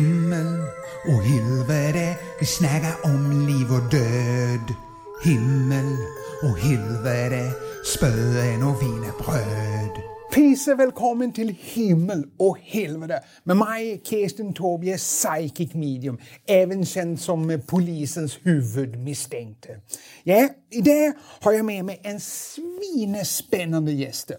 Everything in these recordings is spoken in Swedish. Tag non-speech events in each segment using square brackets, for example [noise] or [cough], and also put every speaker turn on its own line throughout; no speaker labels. Himmel och helvete, vi snäga om liv och död. Himmel och helvete, spöen och vinerbröd.
Peace välkommen till himmel och helvete med mig, Kirsten Tobie, psychic medium, även känd som polisens huvudmisstänkte. Ja, idag har jag med mig en svinespännande gäst.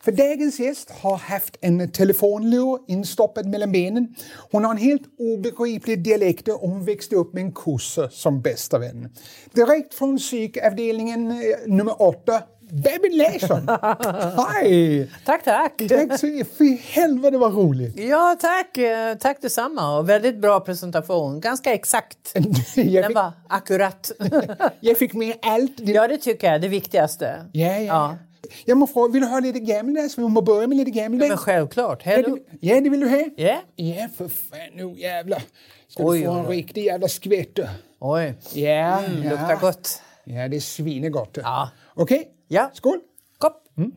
För dagens gäst har haft en telefonlur instoppad mellan benen. Hon har en helt obegriplig dialekt och hon växte upp med en kossa som bästa vän. Direkt från psykavdelningen eh, nummer åtta, David Larsson! Hej!
Tack, tack.
Tack så Fy helvete vad roligt!
Ja, tack. Eh, Tack detsamma. Och väldigt bra presentation. Ganska exakt.
Jag
Den
fick,
var
[laughs]
akkurat.
jag fick med allt. Det, ja,
ja, det tycker jag. Det viktigaste.
ja, ja.
Ja.
Jag må fråga, vill du ha lite gammeldags? Vi må börja med lite
Men
gammeldags.
självklart.
Ja,
Hello.
det- Ja, det vill du ha?
Ja.
Ja, för fan nu jävlar. Ska
Oj,
du få
oj,
en
oj.
riktig jävla skvätt då.
Oj.
Ja,
Mm,
ja.
Luktar gott.
Ja, det är svinegott. då.
Ja.
Okej,
Ja.
skål!
Kopp.
Mm.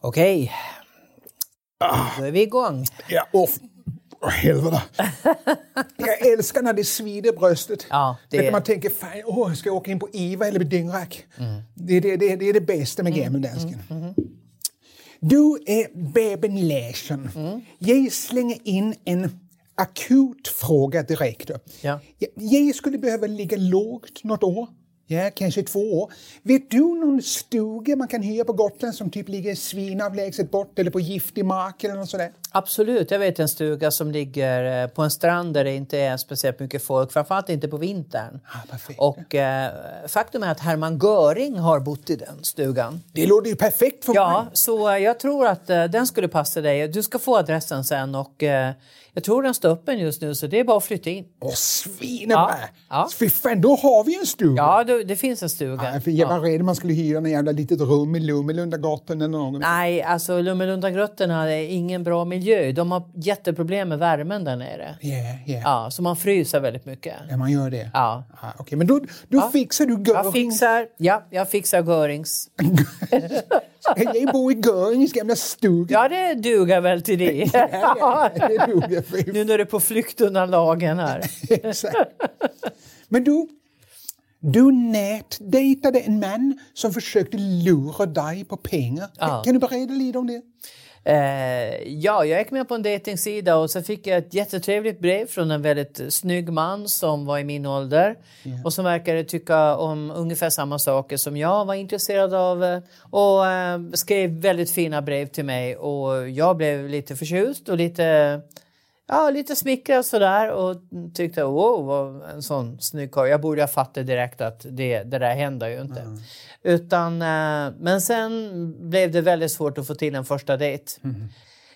Okej.
Ah.
Då är vi igång.
Ja, åh, f- åh, helvete. Jag älskar när det svider bröstet.
Ja, det
det när
är-
man tänker, fan, åh, ska jag åka in på IVA eller Bedingrak? Det, det, det, det är det bästa med gammeldansken. Du är Beben Larsson. Jag slänger in en akut fråga direkt. då.
Ja.
Jag- Jag skulle behöva ligga lågt något år. Ja, kanske två år. Vet du någon stuga man kan hyra på Gotland som typ ligger svinavlägset bort eller på giftig mark eller något sådär?
Absolut. Jag vet en stuga som ligger eh, på en strand där det inte är speciellt mycket folk. Framförallt inte på vintern.
Ah, perfekt.
Och eh, faktum är att Hermann Göring har bott i den stugan.
Det låter ju perfekt för
Ja,
mig.
så eh, jag tror att eh, den skulle passa dig. Du ska få adressen sen och eh, jag tror den står öppen just nu så det är bara att flytta in.
Åh, svinebra!
Ja, ja.
Fy fan, då har vi en stuga!
Ja, du, det finns en stuga.
Nej, för jag var rädd man skulle hyra en jävla litet rum i Lummelundagatan eller någon.
Nej, alltså Lummelundagrottorna är ingen bra miljö. De har jätteproblem med värmen där nere.
Ja, ja.
Ja, så man fryser väldigt mycket.
Ja, man gör det.
Ja.
Ah, Okej, men då, då fixar du
Jag
Göring. [laughs]
fixar, ja, jag fixar Görings.
Kan jag bo i Görings gamla stuga?
Ja, det duger väl
[laughs]
till det.
det dog jag för.
[laughs] nu när du är på flykt undan lagen här.
Exakt. Men du, du nätdejtade en man som försökte lura dig på pengar.
Ja.
Kan du berätta lite om det?
Eh, ja, jag gick med på en dejtingsida och så fick jag ett jättetrevligt brev från en väldigt snygg man som var i min ålder och som verkade tycka om ungefär samma saker som jag var intresserad av eh, och eh, skrev väldigt fina brev till mig och jag blev lite förtjust och lite Ja, lite smickrad sådär och tyckte wow, vad en sån snygg karl. Jag borde ha fattat direkt att det, det där händer ju inte.
Mm.
Utan, eh, men sen blev det väldigt svårt att få till en första dejt.
Mm.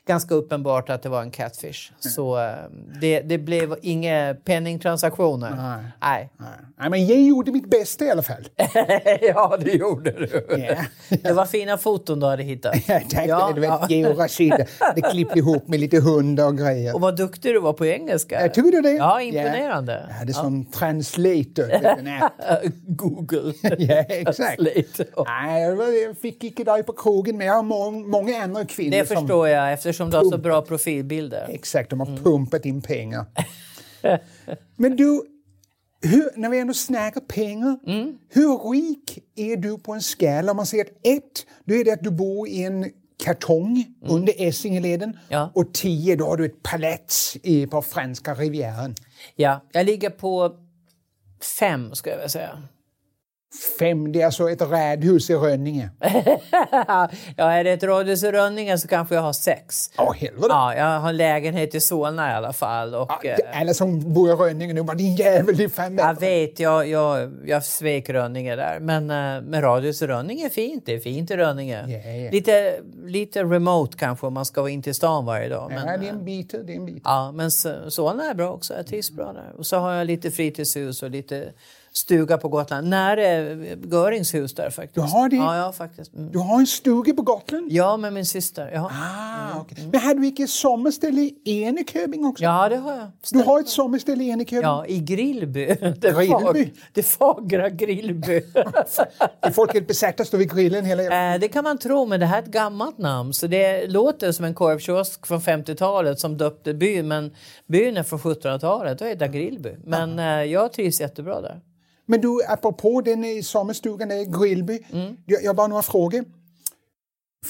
Ganska uppenbart att det var en catfish. Så eh, det, det blev inga penningtransaktioner.
Nej.
Nej. [laughs]
Nej, men jag gjorde mitt bästa i alla fall.
ja, det gjorde du.
Ja.
Det var fina foton du hade hittat.
Ja, tack.
Ja,
det var
ja.
ett georasida. Det klippte ihop med lite hundar och grejer.
Och vad duktig du var på engelska.
Jag tycker du det?
Ja, imponerande.
Ja, det är sån translator. Nej,
[laughs]
[laughs]
Google.
Ja, exakt.
Translate.
Nej, jag var- jag fick inte dig på krogen, men jag har mång- många andra kvinnor
Det
som...
förstår jag eftersom du har så bra profilbilder.
Exakt, de har
Mm.
pumpat in pengar. [laughs] men du, hur, när vi ändå snackar pengar.
Mm.
Hur rik är du på en skala? Om man säger att ett, då är det att du bor i en kartong under Essingeleden.
Mm. Ja.
Och tio, då har du ett palats i, på franska rivieran.
Ja, jag ligger på fem skulle jag vilja säga.
Fem, det är alltså ett radhus i
[laughs]
Rönninge.
ja, är det ett radhus i Rönninge så kanske jag har sex.
Åh, helvete!
Ja, jag har en lägenhet i Solna i alla fall. Och,
Ja,
eh,
det- Alla som bor i Rönninge nu bara din jävel, din fan
jag vet, jag, jag, jag svek Rönninge där. Men, eh, men radhus i Rönninge är fint. Det är fint i Rönninge.
Ja, ja.
Lite, lite remote kanske om man ska vara in till stan varje dag. Men,
Ja, det är en bit, det är en bit.
Ja, men S- Solna är bra också. Jag trivs bra där. Och så har jag lite fritidshus och lite stuga på Gotland. Nära Görings hus där faktiskt.
Du har det?
Ja, ja faktiskt. Mm.
Du har en stuga på Gotland?
Ja, med min syster. Ja,
Ah, okej. Men hade du inte sommarställe i Eneköping också?
ja det har jag.
Du har ett sommarställe i Eneköping?
Ja, i Grillby. [laughs] Det,
Grillby?
fag- det fagra Grillby. [laughs]
Är [laughs] folk helt besatta står vid grillen hela jävla...
Eh, det kan man tro, men det här är ett gammalt namn. Så det låter som en korvkiosk från 50-talet som döpte byn. Men byn är från 1700-talet, då är det Grillby. Men eh, jag trivs jättebra där.
Men du, apropå den i sommarstugan i Grillby.
Mm.
Jag, jag har bara några frågor.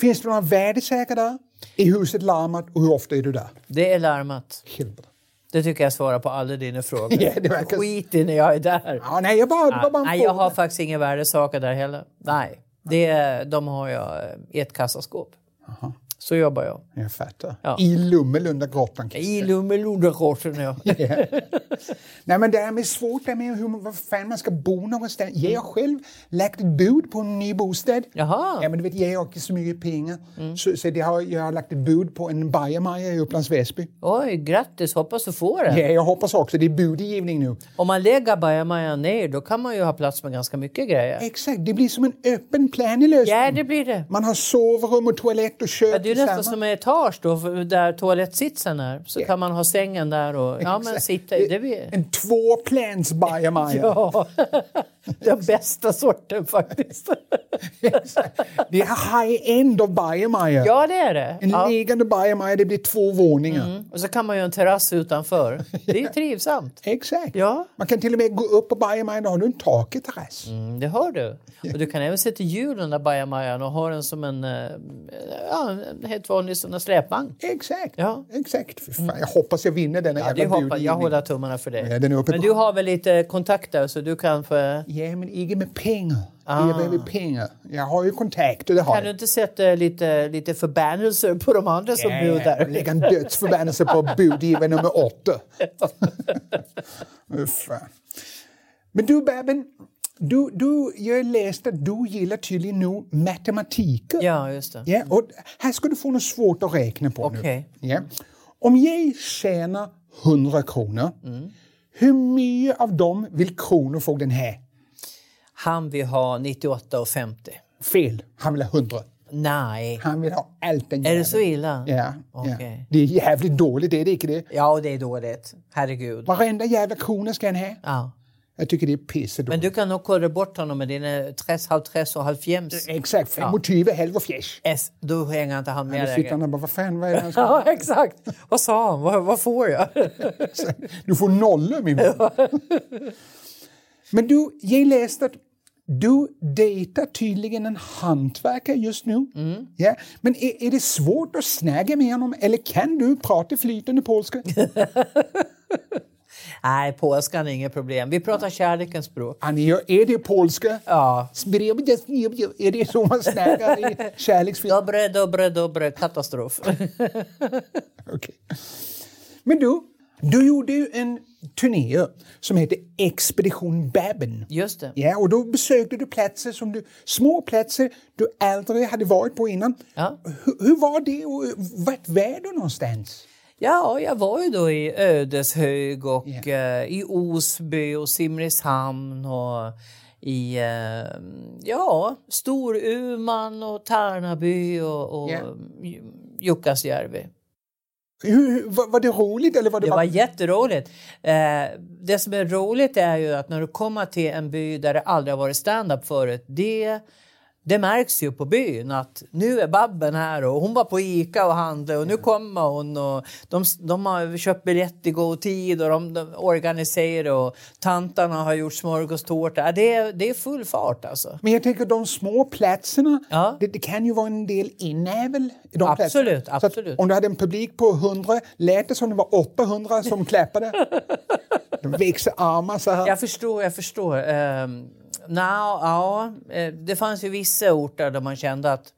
Finns det några värdesäkrar där? Är huset larmat och hur ofta är du där?
Det är larmat.
Helvete.
Det tycker jag svarar på alla dina frågor.
[laughs] Ja, det verkar-
Skit i när jag är där.
Ja, nej, jag bara, det var bara en
Nej,
fråga.
jag har faktiskt inga värdesaker där heller. Nej, det, de har jag eh, i ett kassaskåp. Så jobbar jag.
Jag fattar.
Ja.
I Lummelunda grottan.
I Lummelundakorsen, ja.
Nej, men det här med svårt det här med hur, vad fan man ska bo någonstans. Jag har själv lagt ett bud på en ny bostad.
Jaha.
Ja, men du vet, jag har inte så mycket pengar.
Mm.
Så, så det har, jag har lagt ett bud på en bajamaja i Upplands Väsby.
Oj, grattis. Hoppas du får det.
Ja, jag hoppas också. Det är budgivning nu.
Om man lägger bajamajan ner, då kan man ju ha plats med ganska mycket grejer.
Exakt, det blir som en öppen planlösning.
Ja, det blir det.
Man har sovrum och toalett och kök
Ja, det är ju nästan som en etage då, för- där toalettsitsen är. Så
Ja.
kan man ha sängen där och ja, men
Exakt.
sitta i. Det blir...
En tvåplans bajamaja.
Ja, den bästa sorten faktiskt.
Exakt. Det är high-end av bajamaja.
Ja, det är det.
En
Ja. Mm.
liggande bajamaja, det blir två våningar.
Och så kan man ju ha en terrass utanför. Det är ju trivsamt.
Exakt.
Ja.
Man kan till och med gå upp på bajamaja, då har du en takig terrass.
Mm, det hör du. Och du kan även sätta hjul den där bajamajan och ha den som en, eh, ja, en helt vanlig sån där släpvagn.
Exakt.
Ja.
Exakt. Fy fan, jag hoppas jag vinner denna
Ja, det
jävla
hoppas, jag
budgivning.
håller tummarna för dig.
Ja, den är uppe
Men
på-
du har väl lite kontakter så du kan få...
Ja, men inte med pengar. Jag behöver pengar. Jag har ju kontakter, det har
Kan du
jag.
inte sätta lite, lite förbannelser på de andra som
Ja,
bor
ja,
där?
Lägga en dödsförbannelse på budgivare nummer åtta. Fy fan. men du, Babben. Du, du, jag läste att du gillar tydligen nu matematik.
Ja, just det.
Ja, och här ska du få något svårt att räkna på
Okej.
nu. Ja. Om jag tjänar 100 kronor,
Mm.
hur mycket av dem vill Kronofogden ha?
Han vill ha 98,50.
Fel. Han vill ha 100.
Nej.
Han vill ha allt den
Är
jäveln.
det så illa?
Ja, ja.
Okej.
Det är jävligt dåligt, är det inte det?
Ja, och det är dåligt. Herregud.
Varenda jävla krona ska han ha.
Ja.
Jag tycker det är pissedåligt.
Men du kan nog kolla bort honom med dina tres, halv tres och halv fjems.
Exakt, fem
Ja.
och tjugo, halv och fjärs.
S, då hänger inte han med
Då sitter han
längre.
där och bara, vad fan, vad är det han ska...
[laughs] Ja, exakt. Vad sa han? Vad, vad får [laughs] jag?
Du får nollor
[laughs]
min vän. Men du, jag läste att du dejtar tydligen en hantverkare just nu.
Mm.
Ja. Men är, är det svårt att snäga med honom eller kan du prata flytande
[laughs]
polska?
Nej, påskan är inget problem. Vi pratar kärlekens språk.
Annie, är det polska?
Ja.
Är det så man snägar
[laughs]
i kärleksfilm?
Dobre, dobre, dobre. Katastrof.
Okej. Men du, du gjorde ju en turné som hette Expedition Babben.
Just det.
Ja, och då besökte du platser som du, små platser du aldrig hade varit på innan.
Ja.
Hur, hur var det och vart var du någonstans?
Ja, jag var ju då i Ödeshög och eh, i Osby och Simrishamn och i eh, ja, Storuman och Tärnaby och, och
Ja.
J- Jukkasjärvi.
Hur, var, var det roligt eller var det,
Det var
bara...
jätteroligt. Eh, det som är roligt är ju att när du kommer till en by där det aldrig har varit stand-up förut, det, det märks ju på byn att nu är Babben här och hon var på Ica och handlade och
Mm.
nu kommer hon och de, de har köpt biljett i god tid och de, de organiserar och tantarna har gjort smörgåstårta. Ja, Det, är- det är full fart alltså.
Men jag tänker de små platserna,
Ja.
det, det kan ju vara en del inävel i de
Absolut,
platserna. Så att
absolut.
Om du hade en publik på 100, lät det som det var 800 som
[laughs]
klappade? de växer armar så här.
Jag förstår, jag förstår. Um, ja, eh, det fanns ju vissa orter där man kände att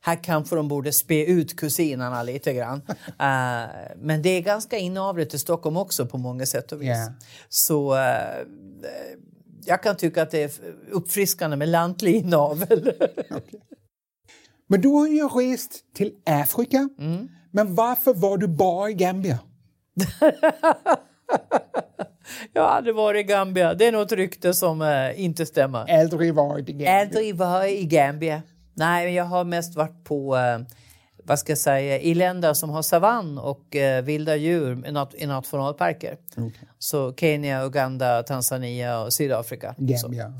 här kanske de borde spe ut kusinerna lite grann. Eh, men det är ganska inavligt i Stockholm också på många sätt och vis.
Ja.
Så eh, jag kan tycka att det är uppfriskande med lantlig inavel.
Men du har ju rest till Afrika. Men varför var du bara i Gambia?
[laughs] Jag har aldrig varit i Gambia. Det är något rykte som eh, inte stämmer.
Aldrig varit i Gambia.
Aldrig varit i Gambia. Nej, men jag har mest varit på, eh, vad ska jag säga, i länder som har savann och eh, vilda djur i nat- i nationalparker. Så Kenya, Uganda, Tanzania och Sydafrika. Så.
Gambia.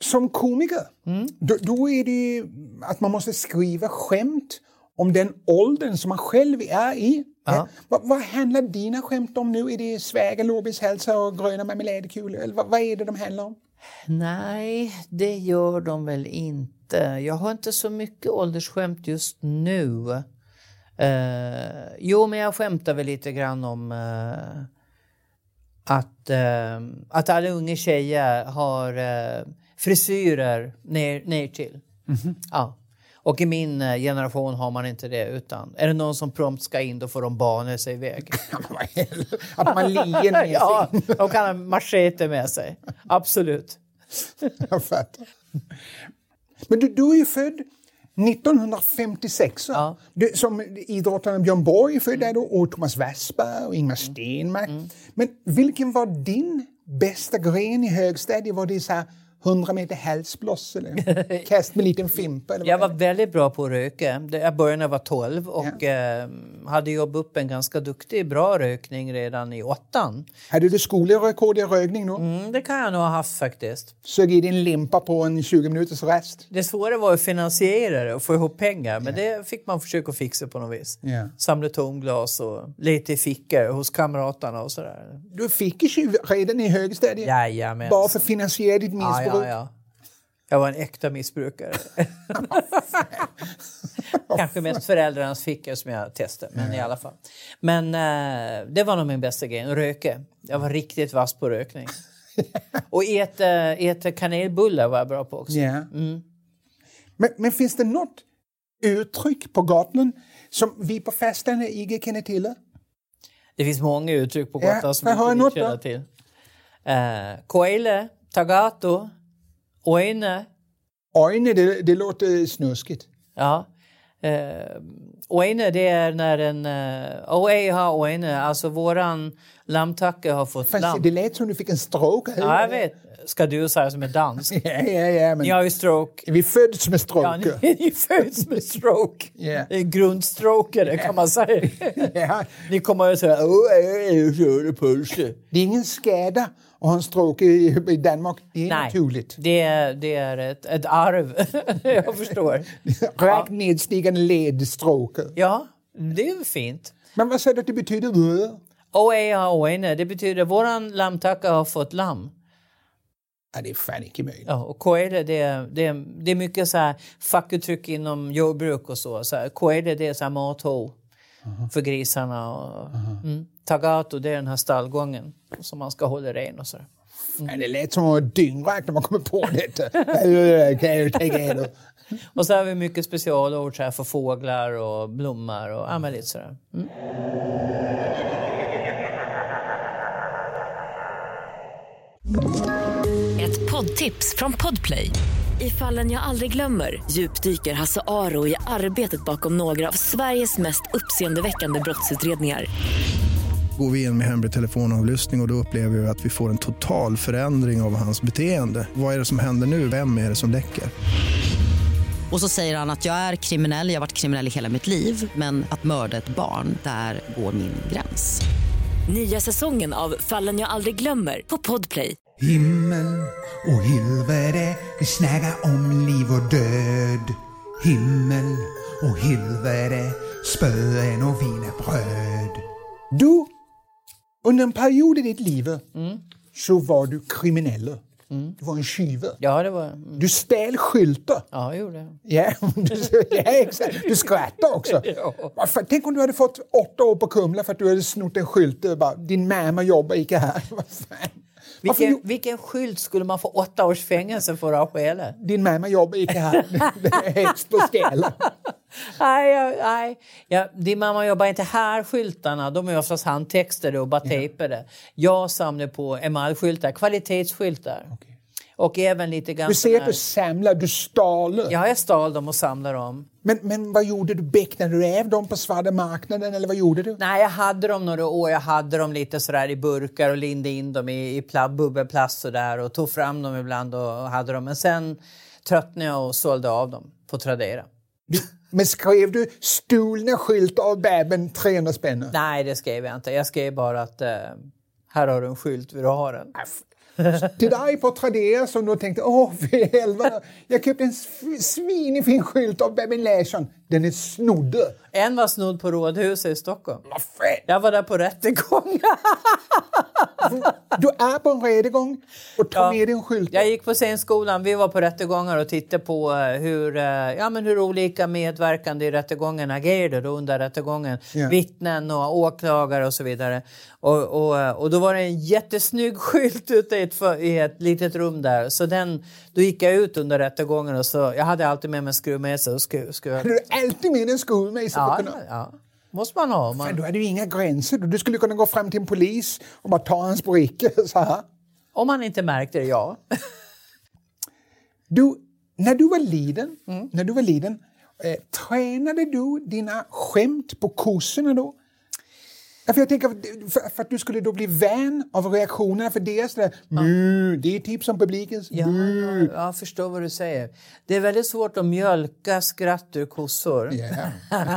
Som komiker, då, då är det ju att man måste skriva skämt om den åldern som man själv är i. Ja. Vad, vad handlar dina skämt om nu? Är det sväger, lårbishälsa och gröna marmeladkulor? Eller vad, vad är det de handlar om? [laughs]
Nej, det gör de väl inte. Jag har inte så mycket åldersskämt just nu. Eh, jo, men jag skämtar väl lite grann om eh, att, eh, att alla unga tjejer har eh, frisyrer ner, ner till. Ja. Och i min eh, generation har man inte det. utan Är det någon som prompt ska in, då får de bana sig iväg.
att man lier [laughs] ner sig.
ja, de kan ha machete med sig. Absolut.
Jag fattar. Men du, du är ju född 1956. så.
Ja.
Du, som idrottaren Björn Borg är född där då, och Thomas Wassberg och Ingmar
Mm.
Stenmark. Men vilken var din bästa gren i högstadiet? Var det så här 100 meter hälsbloss
[laughs]
eller kast med liten fimpa? Eller vad
Jag
det
var väldigt bra på att röka. Det- Jag började när jag var 12 och eh, hade jobbat upp en ganska duktig, bra rökning redan i åttan.
Hade du skolrekord i rökning då?
Mm, det kan jag nog ha haft faktiskt.
Sög i din limpa på en 20 minuters rast?
Det svåra var att finansiera det och få ihop pengar, men det fick man försöka fixa på något vis.
Ja.
Samla tomglas och lite i fickor hos kamraterna och sådär.
Du fick i 20 redan i högstadiet?
Jajamän.
Bara för att finansiera ditt
Ah, Ja,
missbruk?
ja, ja. Jag var en
[laughs]
äkta missbrukare. Kanske mest föräldrarnas fickor som jag testade, men
Mm.
i alla fall. Men eh, det var nog min bästa grej, att röka. Jag var riktigt vass
[laughs]
på rökning. Och äta, äta kanelbullar var jag bra på också.
Ja.
Mm.
Men, men finns det något uttryck på gatan som vi på festande inte känner till?
Det finns många uttryck på
Ja,
Gotland som
får jag höra
inte
något
vi känner
då?
till. Eh, koile, tagato, oine.
Ojne, det, det låter snuskigt.
Ja. Eh, oene, det är när en... Eh, oei ha oene, alltså våran lammtacke har fått
Fast
lamm.
det lät som du fick en stroke.
Ja, jag vet. Ska du säga som är dansk?
[laughs] Ja, ja, ja, men
Ni har ju stroke.
vi föds med
Ja,
stroke.
ni, ni föds med stroke.
Ja.
Det är Grundstroker, kan man säga.
[laughs] Ja.
Ni kommer att säga... "Åh, jag är så det pulser."
Det är ingen skada att ha en stroke i, i Danmark. Det är
[laughs]
naturligt.
det är, det är ett, ett arv. [laughs] jag förstår.
Rakt nedstigande ledstroke.
Ja, det är ju fint.
Men vad säger du att det betyder?
Oea oene, det betyder våran lammtacka har fått lamm.
Ja, det är fan inte möjligt.
Ja, och koele, det, är- det, är- det är mycket så här fackuttryck inom jordbruk och så. så här, koele, det är så här matho för grisarna. Och, mm. Tagato, det är den här stallgången som man ska hålla ren och så. där.
Mm. Ja, det lät som att dyngrak när man kommer på
[laughs]
detta. Ja, kan jag tänka er.
Och så har vi mycket specialord så här, för fåglar och blommor och ja, men lite sådär. Mm.
Ett poddtips från Podplay. I fallen jag aldrig glömmer djupdyker Hasse Aro i arbetet bakom några av Sveriges mest uppseendeväckande brottsutredningar.
Går vi in med hemlig telefonavlyssning och, och då upplever vi att vi får en total förändring av hans beteende. Vad är det som händer nu? Vem är det som läcker?
Och så säger han att jag är kriminell, jag har varit kriminell i hela mitt liv men att mörda ett barn, där går min gräns.
Nya säsongen av Fallen jag aldrig glömmer på Podplay.
Himmel och helvete, vi snackar om liv och död. Himmel och helvete, spöen och wienerbröd.
Du, under en period i ditt liv
Mm.
så var du kriminell. Du var en tjuve.
Ja, det var... Mm.
Du stal skyltar.
Ja, jag gjorde det.
Ja, du, ja, exakt. Du skrattade
[laughs]
också. Vad fan, Tänk om du hade fått åtta år på Kumla för att du hade snott en skylt. och Bara, Din mamma jobbar inte här. [laughs] Vad fan? Varför
Vilken,
jo-
vilken skylt skulle man få åtta års fängelse för att ha skälet?
Din mamma jobbar inte
[laughs]
här. Det är högst på ställen.
Nej, jag- nej. Ja, din mamma jobbar inte här skyltarna. De är oftast handtextade och bara tejpade. Jag samlar på emaljskyltar, kvalitetsskyltar. Och även lite grann...
Du säger att
sån
du
här-
samlar, du stal.
Ja, jag stal dem och samlade dem.
Men, men vad gjorde du? Becknade du även dem på svarta marknaden eller vad gjorde du?
Nej, jag hade dem några år. Jag hade dem lite sådär i burkar och lindade in dem i, i pla- bubbelplast sådär och tog fram dem ibland och hade dem. Men sen tröttnade jag och sålde av dem på Tradera.
Men skrev du stulna skylt av bäben 300 spänn?
Nej, det skrev jag inte. Jag skrev bara att eh, här har du en skylt, vill du ha den?
Till dig på Tradera som då tänkte åh [laughs] för helvete, jag köpte en sv- svinig fin skylt av bäben Larsson. Den är snodd.
En var snodd på Rådhuset i Stockholm.
Vad fan?
Jag var där
[laughs]
på rättegång.
Du är på en rättegång och tar med din skylt.
Jag gick på scenskolan, vi var på rättegångar och tittade på eh, hur, eh, ja, men hur olika medverkande i rättegången agerade då under rättegången.
Ja.
Vittnen och åklagare och så vidare. Och, och, eh, och då var det en jättesnygg skylt ute i ett, för- i ett litet rum där. Så den, då gick jag ut under rättegången och så, jag hade alltid med mig en skruvmejsel och skruv. skruv.
Du är alltid med en skruvmejsel. för att
Ja,
kunna-
ja, måste man ha. om Man,
Men då hade du inga gränser. Du skulle kunna gå fram till en polis och bara ta hans brickor [laughs] så här.
om man inte märkte det, ja.
Du, när du var liten,
Mm.
när du var liten eh, tränade du dina skämt på kurserna då? Ja, För jag tänker att- för, för att du skulle då bli vän av reaktionerna för deras där, mu, det är typ som publikens
Ja,
mu.
ja, jag förstår vad du säger. Det är väldigt svårt att mjölka skratt ur kossor.
Ja.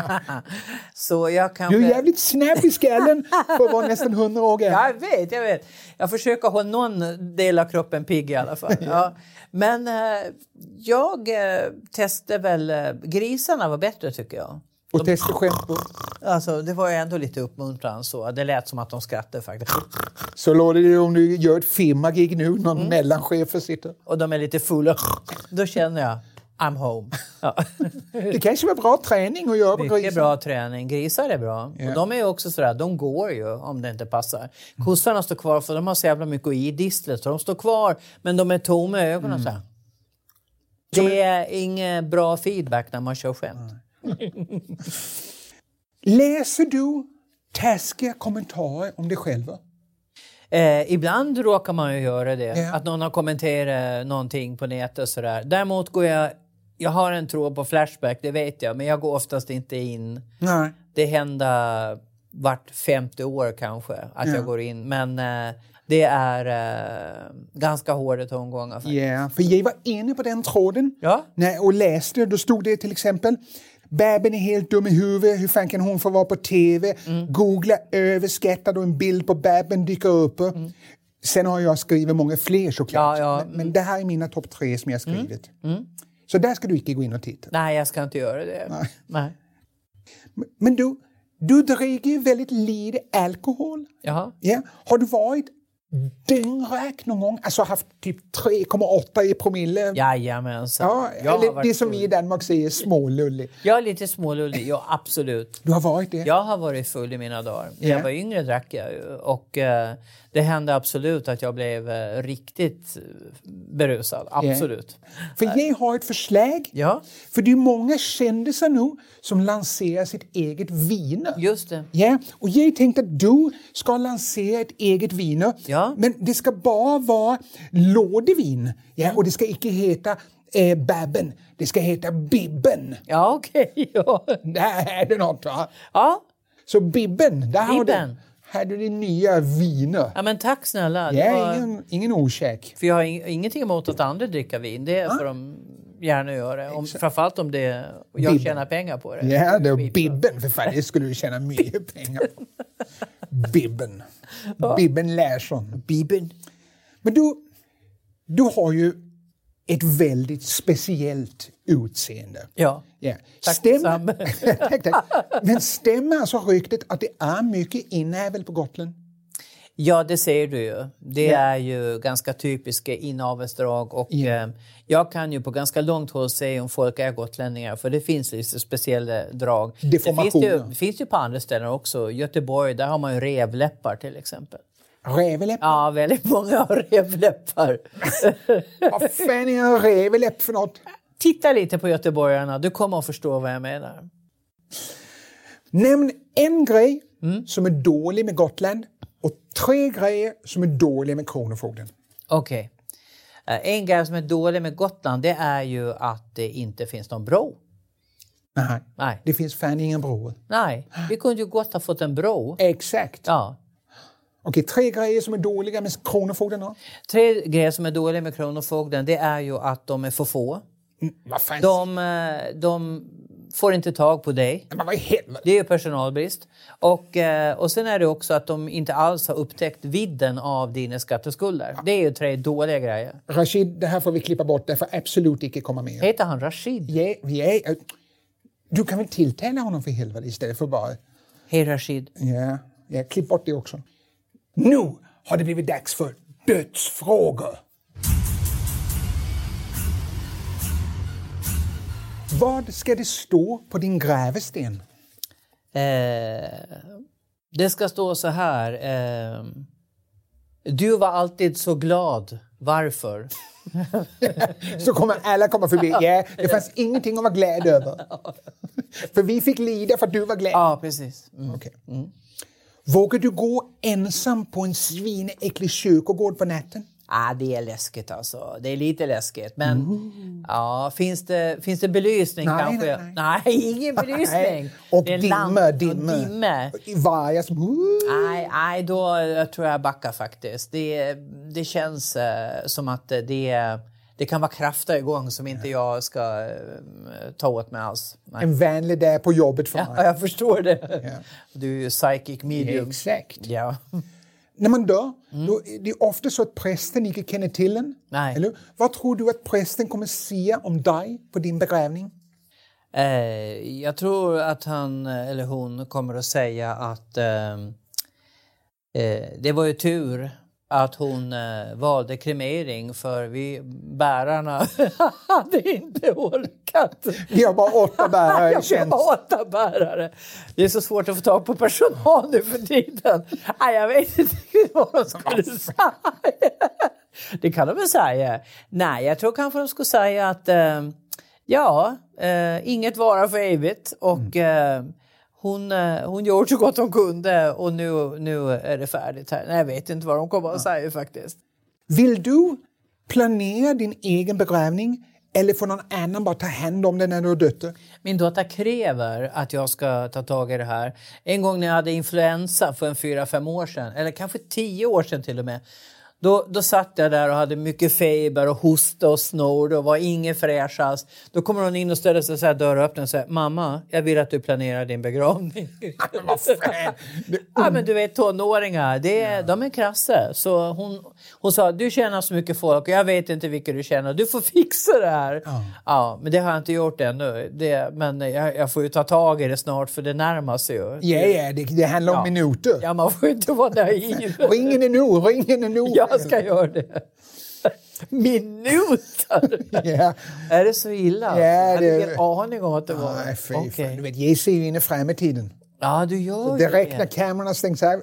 [laughs] Så jag kanske...
Du är jävligt snabb i skallen för att vara nästan 100 år gammal.
Jag vet, jag vet. Jag försöker ha någon del av kroppen pigg i alla fall. [laughs] Ja. Men eh, jag eh, testade väl... Eh, grisarna var bättre tycker jag.
Och testa skämt på.
Alltså, det var ju ändå lite uppmuntran så. Det lät som att de skrattade faktiskt.
Så låter det om du gör ett firmagig nu, någon
Mm.
mellanchef sitter.
Och de är lite fulla. Då känner jag, I'm home. [laughs] Ja.
Det kanske var bra träning att göra på
Mycket
grisen.
bra träning. Grisar är bra. Och de är ju också sådär, de går ju om det inte passar. Kossarna står kvar för de har så jävla mycket att ge i distlet. Så de står kvar men de är tomma i ögonen. Så här. Det är ingen bra feedback när man kör skämt.
Läser du taskiga kommentarer om dig själv?
Eh, ibland råkar man ju göra det.
Ja.
Att någon har kommenterat någonting på nätet. Sådär. Däremot går jag... Jag har en tråd på Flashback, det vet jag. Men jag går oftast inte in.
Nej.
det händer vart femte år kanske att jag går in. Men eh, det är eh, ganska hårda tongångar.
Ja,
faktiskt.
för jag var inne på den tråden
Ja.
när, och läste. Då stod det till exempel Babben är helt dum i huvudet, hur fan kan hon få vara på TV?
Mm.
Googla överskattad och en bild på Babben dyker upp. Sen har jag skrivit många fler såklart.
Mm. Ja, Mm. ja,
Men, men det här är mina topp tre som jag har skrivit. Så där ska du inte gå in och titta.
Nej, jag ska inte göra det. Nej.
Men du, du dricker ju väldigt lite alkohol.
Jaha.
Ja. Har du varit dyngrak någon gång? Alltså haft typ 3,8 i promille?
Jajamensan.
Ja,
Jag har
eller det
varit-
som vi i Danmark säger smålullig.
Jag är lite smålullig, ja absolut.
Du har varit det?
Jag har varit full i mina dagar. När
Ja.
jag var yngre drack jag ju och eh, det hände absolut att jag blev eh, riktigt eh, berusad. Absolut.
För jag har ett förslag.
Ja,
För det är många kändisar nu som lanserar sitt eget vin.
just det.
Ja, och jag tänkte att du ska lansera ett eget vin.
Ja.
Men det ska bara vara lådevin. Ja, och det ska inte heta eh, Babben, det ska heta Bibben.
Ja, okej. [laughs] ja.
Där är det något va?
ja.
Så Bibben, där har du,
Bibben.
här är det nya viner.
ja, men tack snälla. Det
Ja,
var-
ingen, ingen okäk.
För jag har ing- ingenting emot att andra dricker vin. Det får de gärna göra. Om, framförallt om det, och jag
Bibben.
tjänar pengar på det.
Ja, det var
Skitbra.
Bibben för fan, det skulle du tjäna mycket pengar på. Bibben. Bibben Larsson.
Bibeln.
Men du, du har ju ett väldigt speciellt utseende.
Ja.
Ja.
Tack detsamma.
[laughs] tack, tack. Men stämmer alltså ryktet att det är mycket inävel på Gotland?
ja, det ser du ju. Det är ju ganska typiska inavelsdrag. Och,
Ja.
eh, jag kan ju på ganska långt håll säga om folk är gotlänningar. För det finns lite speciella drag. Det finns, det, ju,
Deformationer.
det finns ju på andra ställen också. Göteborg, där har man ju revläppar till exempel.
Räveläpp?
Ja, väldigt många har
[laughs]
revläppar.
Vad fan är en räveläpp för något?
Titta lite på göteborgarna, du kommer att förstå vad jag menar.
Nämn en grej
Mm.
som är dålig med Gotland och tre grejer som är dåliga med Kronofogden.
Okej. Eh, En grej som är dålig med Gotland det är ju att det inte finns någon bro.
Nej,
Nej,
det finns fan ingen bro.
nej. vi kunde ju gott ha fått en bro.
Exakt.
Ja.
Okej, tre grejer som är dåliga med Kronofogden då?
Tre grejer som är dåliga med Kronofogden det är ju att de är för få.
Mm, Vad fan?
De, eh, de får inte tag på dig.
Men vad i helvete?
Det är ju personalbrist. Och, eh, och sen är det också att de inte alls har upptäckt vidden av dina skatteskulder. Det är ju tre dåliga grejer.
Rashid, det här får vi klippa bort. Det får absolut inte komma med.
Heter han Rashid?
Ja, vi är... Du kan väl tilltala honom för helvete istället för bara...
Hej Rashid.
Ja, ja, klipp bort det också. Nu har det blivit dags för dödsfrågor. Vad ska det stå på din grävesten?
Eh, det ska stå så här. Eh, du var alltid så glad. Varför?
Så kommer alla komma förbi. Ja, det fanns ingenting att vara glad
[laughs]
över. För vi fick lida för att du var glad.
Ja, precis. Mm.
Okej. Vågar du gå ensam på en svinäcklig kyrkogård på natten?
Ah, det är läskigt alltså. Det är lite läskigt. Men ja, finns, det, finns det belysning
Mm. Nej,
kanske?
nej,
ingen belysning.
Nej. Och
Det är lamp-
dimmer,
och
dimmer.
dimmer.
I varje som...
Nej, nej, då jag tror jag backar faktiskt. Det, det känns eh, som att eh, det, det kan vara krafter igång som inte jag ska eh, ta åt mig alls. Nej.
En vänlig dag på jobbet för
Ja,
mig.
jag förstår det. Du är ju psychic medium.
Exakt.
Ja. Mm.
När man dör, då är det är ofta så att prästen inte känner till en.
Nej.
Eller? hur? Vad tror du att prästen kommer säga om dig på din begravning?
Eh, jag tror att han eh, eller hon kommer att säga att eh, eh, det var ju tur att hon eh, valde kremering för vi bärarna [laughs] hade inte orkat.
Vi har bara åtta
[laughs]
bärare i
Jag
tjänst.
hatar bärare. Det är så svårt att få tag på personal nu för tiden. Nej, jag vet inte riktigt vad de skulle säga. Det kan de väl säga. Nej, jag tror kanske de skulle säga att eh, ja, eh, inget vara för evigt och eh, hon, eh, hon gjorde så gott hon kunde och nu, nu är det färdigt här. Nej, jag vet inte vad de kommer att säga faktiskt.
Vill du planera din egen begravning eller får någon annan bara ta hand om den när du har dött?
Min dotter kräver att jag ska ta tag i det här. En gång när jag hade influensa för en fyra fem år sedan, eller kanske tio år sedan till och med, då, då satt jag där och hade mycket feber och hosta och snor och var ingen fräsch alls. Då kommer hon in och ställer sig så här dörröppnaren och säger “Mamma, jag vill att du planerar din begravning”.
[laughs] Men vad fan? Det-
Ja, men du vet tonåringar, det, är- de är krasse. Så hon, hon sa, du tjänar så mycket folk och jag vet inte vilka du tjänar. Du får [laughs] fixa det här. Ja. men det har jag inte gjort ännu. Det, men jag, jag får ju ta tag i det snart för det närmar sig ju.
Ja, ja, det, det handlar om
Ja.
minuter.
Ja, man får ju inte vara
[laughs]
naiv.
Ringen är nu, ringen är nu.
[laughs] jag ska göra det. [laughs] Minuter!
Ja.
Är det så illa?
Ja,
jag hade
det-
ingen aning om att det var...
Nej, fy fan.
Okej.
Du vet, Jesu är ju inne fram i tiden.
Ja, du gör ju
Direkt när kamerorna stängs av.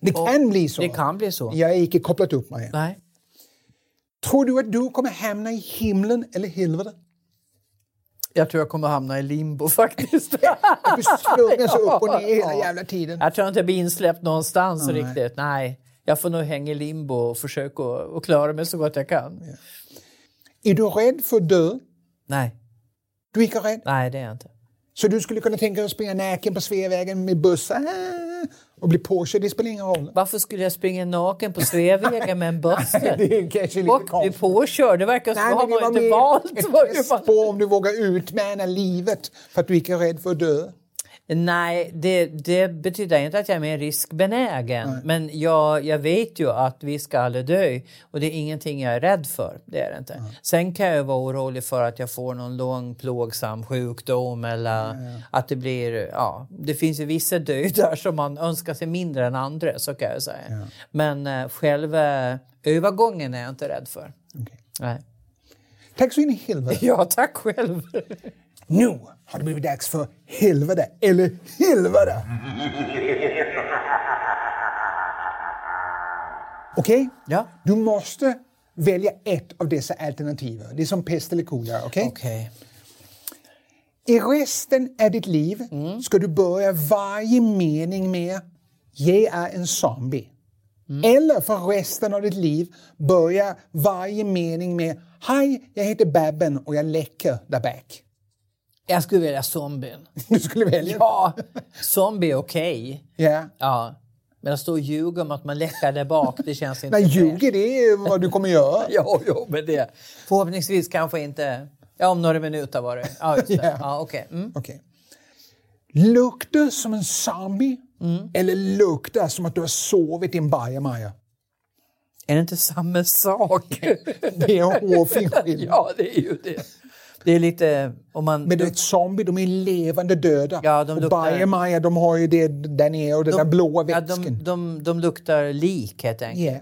Det kan bli så.
Det kan bli så.
Jag är inte kopplat upp mig.
Nej.
Tror du att du kommer hamna i himlen eller helvetet?
Jag tror jag kommer hamna i limbo [laughs] faktiskt.
Att du slungas upp och ner hela jävla tiden.
Jag tror inte jag blir insläppt någonstans riktigt. Nej. Jag får nog hänga i limbo och försöka att- att klara mig så gott jag kan.
Är du rädd för att dö?
Nej.
Du är inte rädd?
Nej, det är jag inte.
Så du skulle kunna tänka dig att springa naken på Sveavägen med bussar och bli påkörd? Det spelar ingen roll. [laughs]
Varför skulle jag springa naken på Sveavägen med en buss?
Det är kanske lite
Och bli
[laughs] konstigt.
påkörd. Det verkar som att
men det
man
var
inte
mer
valt. vad
ett [laughs]
det var.
test på om du vågar utmana livet för att du inte är rädd för att dö.
Nej, det, det betyder inte att jag är mer riskbenägen. Men jag, jag vet ju att vi ska alla dö och det är ingenting jag är rädd för. Det är det inte. Sen kan jag ju vara orolig för att jag får någon lång plågsam sjukdom eller att det blir... Ja, det finns ju vissa dödar som man önskar sig mindre än andra, så kan jag säga. Men eh, själva övergången är jag inte rädd för.
Okej.
Nej.
Tack så in i helvete.
Ja, tack själv.
[laughs] Nu har det blivit dags för helvete, eller helvete! Okej?
Ja.
Du måste välja ett av dessa alternativ. Det är som pest eller kolera. okej?
Okej.
I resten av ditt liv ska du börja varje mening med “Jag är en zombie” Eller för resten av ditt liv börja varje mening med Hej, jag heter Babben och jag läcker där back.
Jag skulle välja zombien.
[laughs] Du skulle välja.
Ja, zombie är okej.
Ja.
Ja. Men att stå och ljuga om att man läckar där bak, det känns [laughs] inte
Nej,
fräscht.
ljuger det är vad du kommer
[laughs]
göra.
Jo, jo, men det... Förhoppningsvis kanske inte... Ja, om några minuter var det. Ja, just det.
Ja.
[laughs] Ja, okej. Mm.
Okej. Lukta som en zombie eller lukta som att du har sovit i en bajamaja?
Är det inte samma [laughs] sak?
Det är en
[laughs]
hårfin skillnad.
ja, det är ju det. Det är lite... Om man,
Men du vet, zombie, de är levande döda.
Ja, de
och
luktar-
bajamaja, de har ju det där nere och den där blåa
ja,
vätskan.
de, de, de luktar lik, helt enkelt.
Yeah.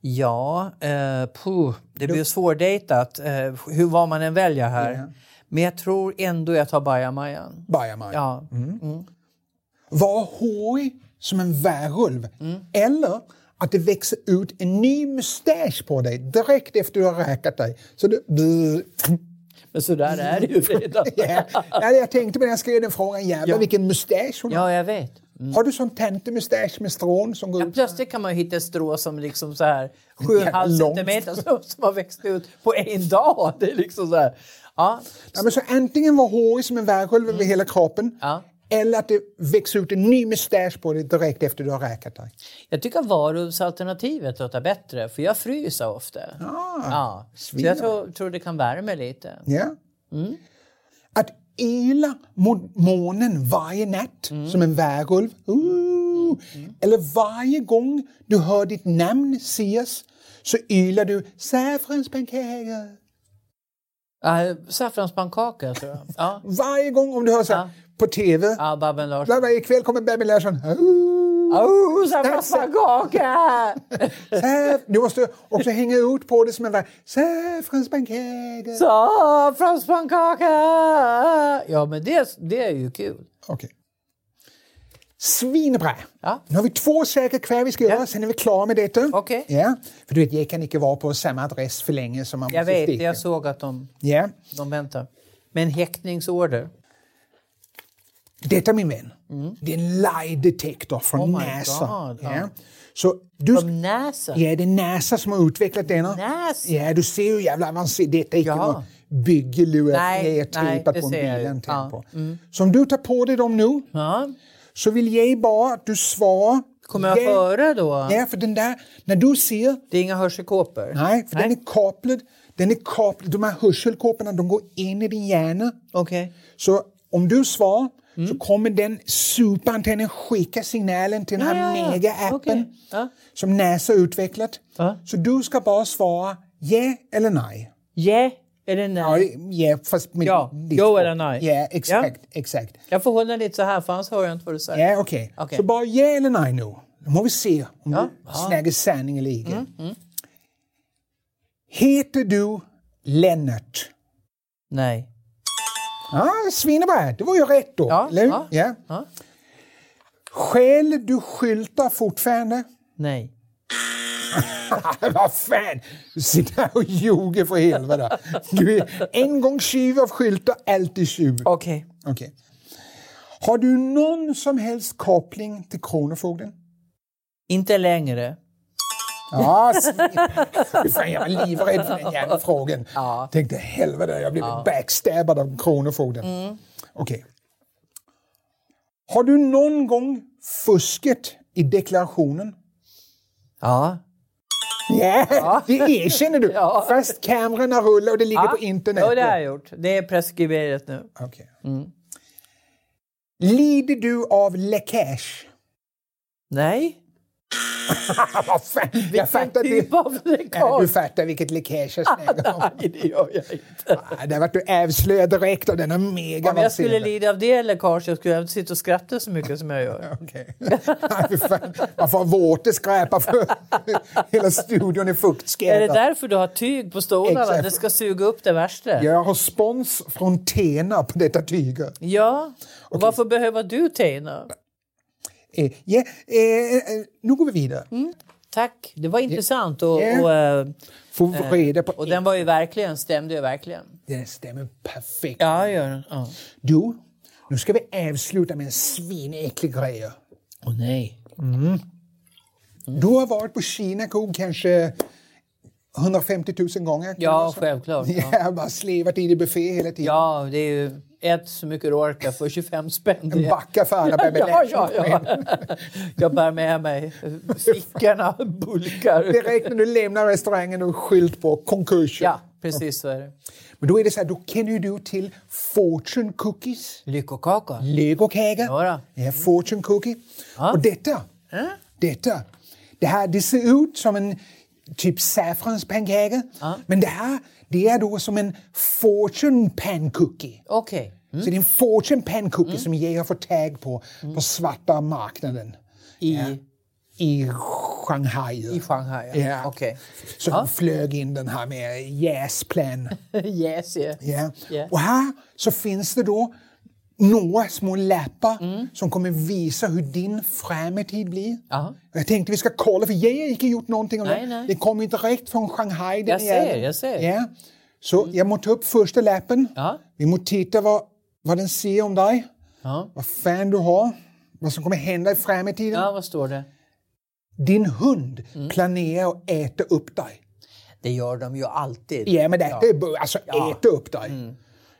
Ja, eh, puh, det blir svårdejtat eh, hur vad man än väljer här. Men jag tror ändå jag tar bajamajan.
Bajamaja.
Ja.
Var hårig som en värulv.
Mm.
Eller att det växer ut en ny mustasch på dig direkt efter du har räkat dig. Så du... [laughs]
Men så där är det ju redan.
Ja, jag tänkte på när jag skrev den frågan, jävlar
Ja.
vilken mustasch hon har.
Ja, jag vet.
Har du sån tantemustasch med strån som går
Ja,
ut?
plötsligt kan man ju hitta ett strå som liksom så här 7,5
långt.
centimeter som, som har växt ut på en dag. Det är liksom så här. Ja,
Ja, men så antingen var hårig som en värulv över hela kroppen
Mm. Ja.
eller att det växer ut en ny mustasch på dig direkt efter du har räkat dig.
jag tycker varulvsalternativet låter bättre för jag fryser ofta. ja. Så
svinare.
jag tror, tror det kan värma lite.
Ah. Ja.
Mm.
Att yla mot månen varje natt
Mm.
som en värulv. Ooh. Eller varje gång du hör ditt namn sägas så ylar du saffranspannkakor.
Ja, Saffranspannkaka tror jag. Ja,
Varje gång om du hör så här, på tv.
ja Babben Larsson.
Bla, bla, ikväll kommer Baby Larsson. Ooh.
Oh, saffranspannkaka!
Saff- Du måste också hänga ut på det som en värld. Saffranspannkakor.
Saffranspannkaka! Ja, men det, det är ju kul.
Okej. Svinbra!
Ja.
Nu har vi två saker kvar vi ska göra, sen är vi klara med detta.
Okej.
Ja, för du vet, jag kan inte vara på samma adress för länge som man
Jag
måste
vet,
sticka.
jag såg att de,
Ja.
de väntar. Med en häktningsorder.
Detta min vän, det är en lie-detektor från
Mm. Oh my
NASA.
God, ja.
Ja. Så du...
Om näsan.
Ja, det är NASA som har utvecklat denna.
NASA?
Ja, du ser ju jävla avancerat. Detta är inte
Jaha.
något byggelur
Nej, nej,
nedtejpat
det
på en
ser jag ju.
bil.
Ja. Mm.
Ja. Så om du tar på dig dem nu
Ja.
så vill jag bara att du svarar...
Kommer jag
ja.
höra då?
Ja, för den där, när du ser,
Det är inga hörselkåpor?
nej, för den är kopplad, den är kopplad, de här hörselkåporna de går in i din hjärna.
Okej.
Så om du svarar
Mm.
så kommer den superantennen skicka signalen till den här
Ja, ja, ja.
mega-appen
Okej, ja.
som NASA utvecklat.
Ja.
Så du ska bara svara ja eller nej.
Ja eller nej?
Ja, ja fast med
Ja,
ditt
jo
språk.
eller nej.
Ja, exakt. exakt.
Jag får hålla lite så här för annars hör jag inte vad du säger.
Ja, okej.
Okej.
Så bara ja eller nej nu. Nu må vi se om
Ja. Mm,
du snäger sanning eller icke. Heter du Lennart?
Nej.
Ja, svinebra. Det var ju rätt då.
Ja,
eller hur?
ja,
ja.
ja.
Skäl du skyltar fortfarande? [laughs]
Nej.
Vad fan! Du sitter här och ljuger för helvete. Du är en gång tjuv av skyltar, alltid tjuv.
Okej.
Okej. Har du någon som helst koppling till Kronofogden?
Inte längre.
Ja, svin- fan, jag var livrädd för den jävla frågan. Tänkte helvete, jag blev backstabbad av Kronofogden.
Mm.
Okej. Har du någon gång fuskat i deklarationen?
Ja.
Ja, det erkänner du.
Ja.
Fast kamerorna rullar och det ligger på internet.
Ja, det har jag gjort. Det är Mm. preskriberat nu.
Okej. Lider du av läckage?
Nej.
Vad fan, jag fattar det.
Typ av
Ja, du
läckage.
fattar vilket läckage jag snackar om.
Nej, det gör jag inte.
Ah, Där vart du avslöjad direkt av denna mega
Om jag skulle lida av det läckaget jag skulle jag inte sitta och skratta så mycket som jag gör.
Okej. [laughs] Nej, för fan. Man får våteskräpa för [laughs] hela studion är
Är det
fuktskräpa.
därför du har tyg på stolarna?
Exakt.
Det ska suga upp det värsta?
Jag har spons från Tena på detta tyg.
Ja. Och Varför behöver du Teina?
Eh, ja, eh, eh, nu går vi vidare.
Mm. Tack, det var intressant. Och,
Ja.
och, eh,
Får vi reda på...
och den var ju verkligen, stämde ju verkligen.
Den stämmer perfekt.
Ja, gör den. Ja.
Du, nu
Mm.
ska vi avsluta med en svinäcklig grej.
Åh nej.
Du har varit på Kina Coop kanske 150 000 gånger.
Ja, självklart.
[laughs]
Ja.
Ja, bara slevat i det buffé hela tiden.
Ja, det är ju ett så mycket rårka för 25 spänn.
En backaffär. där med
[laughs] Ja, ja, ja.
[laughs]
Jag bär med mig fickorna, bulkar.
Direkt när du lämnar restaurangen och skylt på konkurs.
Ja, precis så är det.
Men då är det så här, då känner du till fortune cookies.
Lyckokaka.
Legokaka.
Jodå.
Ja, fortune cookie. Och detta, detta, det här det ser ut som en typ saffranspannkaka. Men det här, det är då som en fortune pancookie.
Okej.
Så det är en fortune pancookie som jag har fått tag på på svarta marknaden
I,
i Shanghai.
I Shanghai, ja.
Ja.
Okej. [laughs]
Så de flög in den här med jäsplan.
yes, yeah.
Ja.
Ja.
Och här så finns det då några små läppar
Mm.
som kommer visa hur din framtid blir.
Aha.
Jag tänkte vi ska kolla, för jag har inte gjort någonting om
Nej,
det.
nej.
Det kommer ju direkt från Shanghai. den
Jag ser,
jäveln.
jag ser. Mm.
Ja. Så jag måste ta upp första läppen.
Ja.
Vi måste titta vad, vad den säger om dig,
Ja.
vad fan du har, vad som kommer hända i framtiden.
ja, Mm. vad står det?
Din hund planerar att äta upp dig.
Det gör de ju alltid.
Ja, men detta är bu- alltså äta upp dig.
Mm.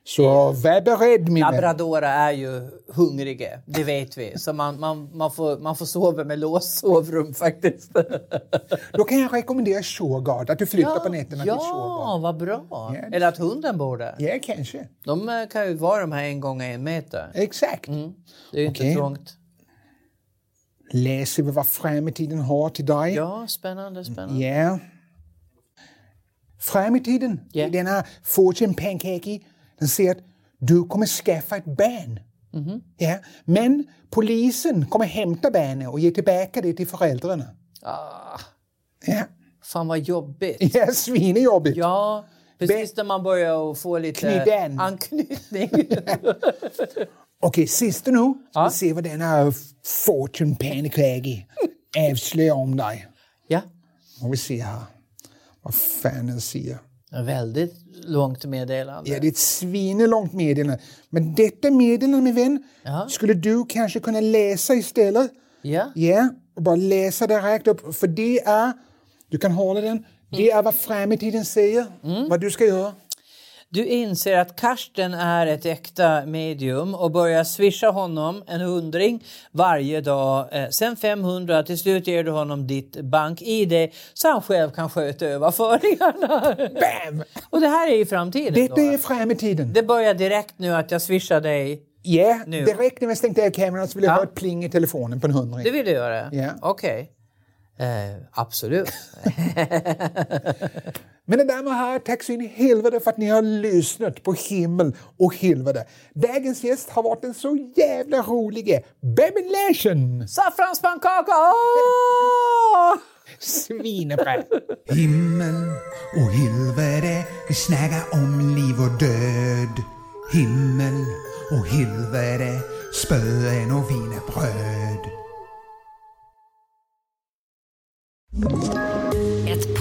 Så var beredd min vän.
Labradorer är ju hungriga, det vet vi. Så man, man, man, får, man får sova med låst sovrum faktiskt.
Då kan jag rekommendera Shurgard, att du flyttar på nätterna till Shurgard.
ja vad bra! Eller att hunden bor där.
Ja, kanske.
De eh, kan ju vara de här en gång en meter.
Exakt.
Det är ju
Okej.
inte trångt.
Läser vi vad framtiden har till dig.
Ja, spännande, spännande.
Ja. Framtiden,
Ja.
den här fortune pancake, den säger att du kommer skaffa ett barn.
Mhm.
Ja. Men polisen kommer hämta barnet och ge tillbaka det till föräldrarna.
Ah,
Ja,
fan vad jobbigt.
ja svinjobbigt.
Ja, precis när man börjar att få lite
Kniden.
anknytning. [laughs]
Okej, sista nu. Ska vi se vad den här fortune pancake avslöjar om dig.
ja,
Må vi se här. Vad fan den säger.
en väldigt långt meddelande.
Ja, det är ett svinelångt meddelande. Men detta meddelande, min vän,
Ja.
skulle du kanske kunna läsa istället.
Ja.
Ja, och bara läsa det rakt upp. För det är, du kan hålla den, det är vad framtiden säger,
Mm.
vad du ska göra.
Du inser att Karsten är ett äkta medium och börjar swisha honom en hundring varje dag. Eh, sen 500, till slut ger du honom ditt bank-id så han själv kan sköta överföringarna.
Bam!
Och det här är i framtiden.
Detta
då.
är framtiden.
Det börjar direkt nu att jag swishar dig.
Ja,
Nu.
direkt när vi stängde av kameran så ville jag
Ja.
höra ett pling i telefonen på en hundring.
Det vill du göra?
Ja.
Okej. Eh, absolut.
Mina damer och herrar, tack så in i helvete för att ni har lyssnat på Himmel och helvete. Dagens gäst har varit den så jävla rolige Babben Larsen!
Saffranspannkaka! Åh!
Svinebra!
Himmel och helvete, vi snackar om liv och död. Himmel och helvete, spöen och wienerbröd.
Ett